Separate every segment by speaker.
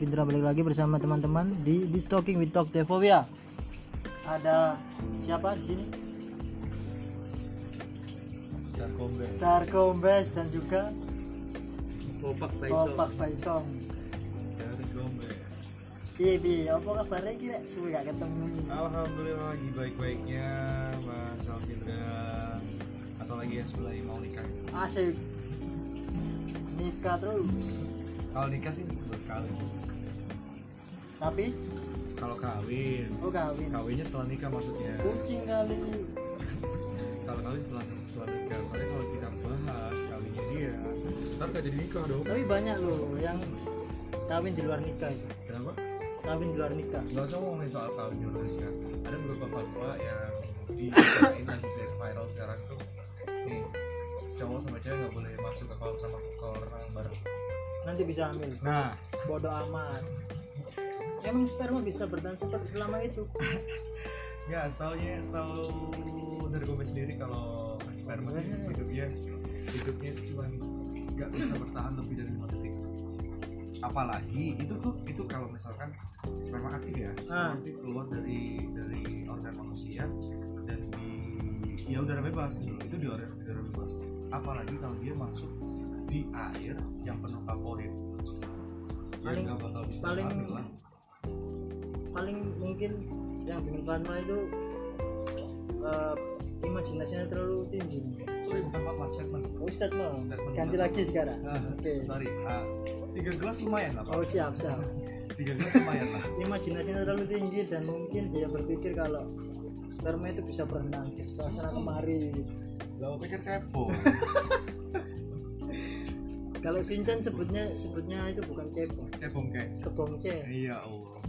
Speaker 1: Findra balik lagi bersama teman-teman di di Talking with Talk Devovia. Ada siapa di sini?
Speaker 2: Tarkombes
Speaker 1: Tarkombes dan juga
Speaker 3: Opak Paiso.
Speaker 1: Opak Baisong.
Speaker 2: Tarkombes
Speaker 1: Iya, iya, apa kabarnya iki rek? Suwe gak ketemu.
Speaker 2: Oh. Alhamdulillah lagi baik-baiknya Mas Alvindra Atau lagi yang sebelah ini mau nikah
Speaker 1: Asik. Nikah terus.
Speaker 2: Kalau nikah sih baru sekali
Speaker 1: Tapi
Speaker 2: Kalau kawin
Speaker 1: oh kawin.
Speaker 2: Kawinnya setelah nikah maksudnya
Speaker 1: Kucing kali.
Speaker 2: Kalau kawin setelah, setelah nikah Soalnya kalau kita bahas kawinnya dia Ntar gak jadi nikah dong
Speaker 1: Tapi banyak loh yang kawin di luar nikah. itu.
Speaker 2: Kenapa?
Speaker 1: Kawin di luar nikah.
Speaker 2: Gak usah ngomongin soal kawin dulu ya Ada beberapa fatwa yang dibicarain lagi dan viral sekarang tuh Nih cowok sama cewek gak boleh masuk ke kolam renang kolam renang bareng
Speaker 1: Nanti bisa ambil.
Speaker 2: Nah,
Speaker 1: Bodoh amat. Emang sperma bisa bertahan seperti selama itu?
Speaker 2: ya setahunya setahu dari gue sendiri kalau sperma
Speaker 1: Iya,
Speaker 2: sih hidupnya hidupnya cuma nggak bisa bertahan lebih dari lima detik apalagi itu tuh itu kalau misalkan sperma aktif ya
Speaker 1: Ah.
Speaker 2: sperma aktif keluar dari dari organ manusia dan di ya udara bebas dulu itu di udara, udara bebas apalagi kalau dia masuk di air yang penuh kaporit ya
Speaker 1: Paling-
Speaker 2: nggak bakal bisa
Speaker 1: paling-
Speaker 2: hamil lah
Speaker 1: Paling mungkin yang bikin fatma itu eh, imajinasinya terlalu tinggi.
Speaker 2: sorry bukan fatwa statement
Speaker 1: Oh, statement.
Speaker 2: Statement.
Speaker 1: Ganti lagi sekarang.
Speaker 2: Ah,
Speaker 1: Oke.
Speaker 2: sorry ah, tiga gelas lumayan lah pak
Speaker 1: Oh siap siap.
Speaker 2: tiga gelas lumayan lah
Speaker 1: Imajinasinya terlalu tinggi dan mungkin dia berpikir kalau sperma itu bisa berenang ke sebelah sana kemari. gitu.
Speaker 2: lah mau pikir cebol
Speaker 1: Kalau Shinchan sebutnya sebutnya itu bukan cebong,
Speaker 2: cebol kayak
Speaker 1: kebongce.
Speaker 2: iya allah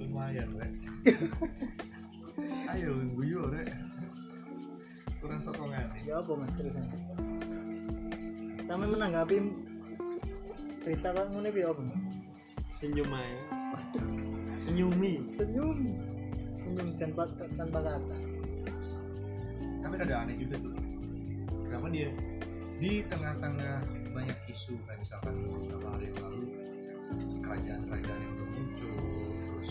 Speaker 2: lumayan rek ayo guyu rek kurang sokongan nih
Speaker 1: Ya apa mas terusan? Sampai menanggapi cerita kan ini ya apa mas?
Speaker 3: Senyum aja. Senyumi.
Speaker 1: Senyum, senyum tanpa tanpa kata.
Speaker 2: tapi ada aneh juga sih kenapa dia di tengah-tengah banyak isu kayak misalkan beberapa hari yang lalu kerajaan-kerajaan yang baru muncul terus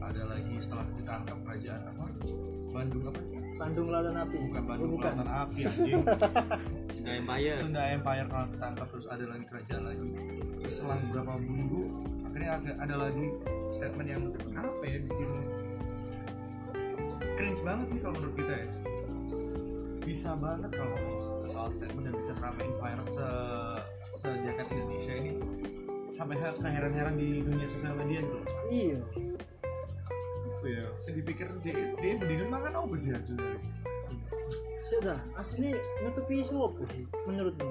Speaker 2: ada lagi setelah ditangkap kerajaan apa Bandung apa
Speaker 1: Bandung Lautan Api.
Speaker 2: bukan
Speaker 1: Oh,
Speaker 2: Bandung
Speaker 1: bukan.
Speaker 2: Lautan Api anjing
Speaker 3: Sudah Empire.
Speaker 2: Sunda Empire kalau ketangkap terus ada lagi kerajaan lagi terus selang beberapa minggu akhirnya ada, ada lagi statement yang apa ya bikin cringe banget sih kalau menurut kita ya bisa banget kalau ngomong soal statement dan bisa ramein viral se sejagat Indonesia ini sampai he- keheran-heran di dunia sosial media gitu loh.
Speaker 1: Iya.
Speaker 2: Apa ya saya dipikir dia dia berdiri makan obes ya sebenarnya
Speaker 1: Sudah, aslinya nutupi isu apa sih menurutmu?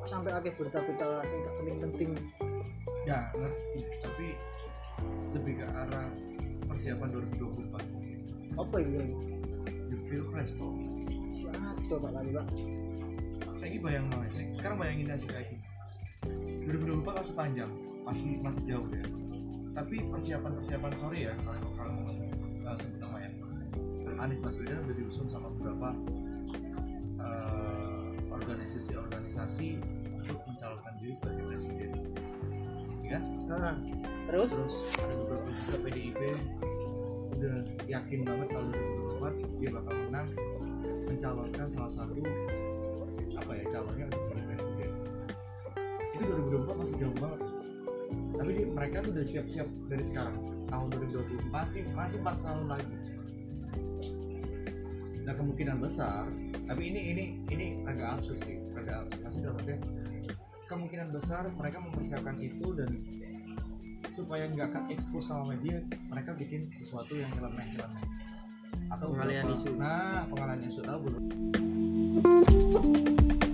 Speaker 1: Kok sampai akhir berita-berita yang gak penting-penting?
Speaker 2: ya ngerti tapi lebih ke arah persiapan 2024
Speaker 1: Apa iya? itu?
Speaker 2: di pilpres kok
Speaker 1: Atau pak lagi pak?
Speaker 2: saya ini bayang banget Saya- sekarang bayangin aja kayak gini 2024 masih panjang kan masih masih jauh ya tapi persiapan persiapan sorry ya kalau kalau mau uh, sebut nama ya Anies Baswedan udah diusung sama beberapa eh, organisasi-organisasi untuk mencalonkan diri sebagai presiden ya
Speaker 1: Nah, terus?
Speaker 2: terus ada beberapa juga PDIP udah yakin banget kalau 2024 dia bakal menang mencalonkan salah satu apa ya calonnya untuk jadi presiden itu 2024 masih jauh banget tapi dia- mereka tuh udah siap-siap dari sekarang tahun 2024 masih masih 4 tahun lagi nah kemungkinan besar tapi ini ini ini agak absurd sih agak absurd maksudnya dalam artian, kemungkinan besar mereka mempersiapkan itu dan supaya nggak ke expose sama media mereka bikin sesuatu yang nyeleneh nyeleneh atau
Speaker 3: Pengalian
Speaker 2: beberapa-
Speaker 3: isu.
Speaker 2: nah pengalian isu tahu belum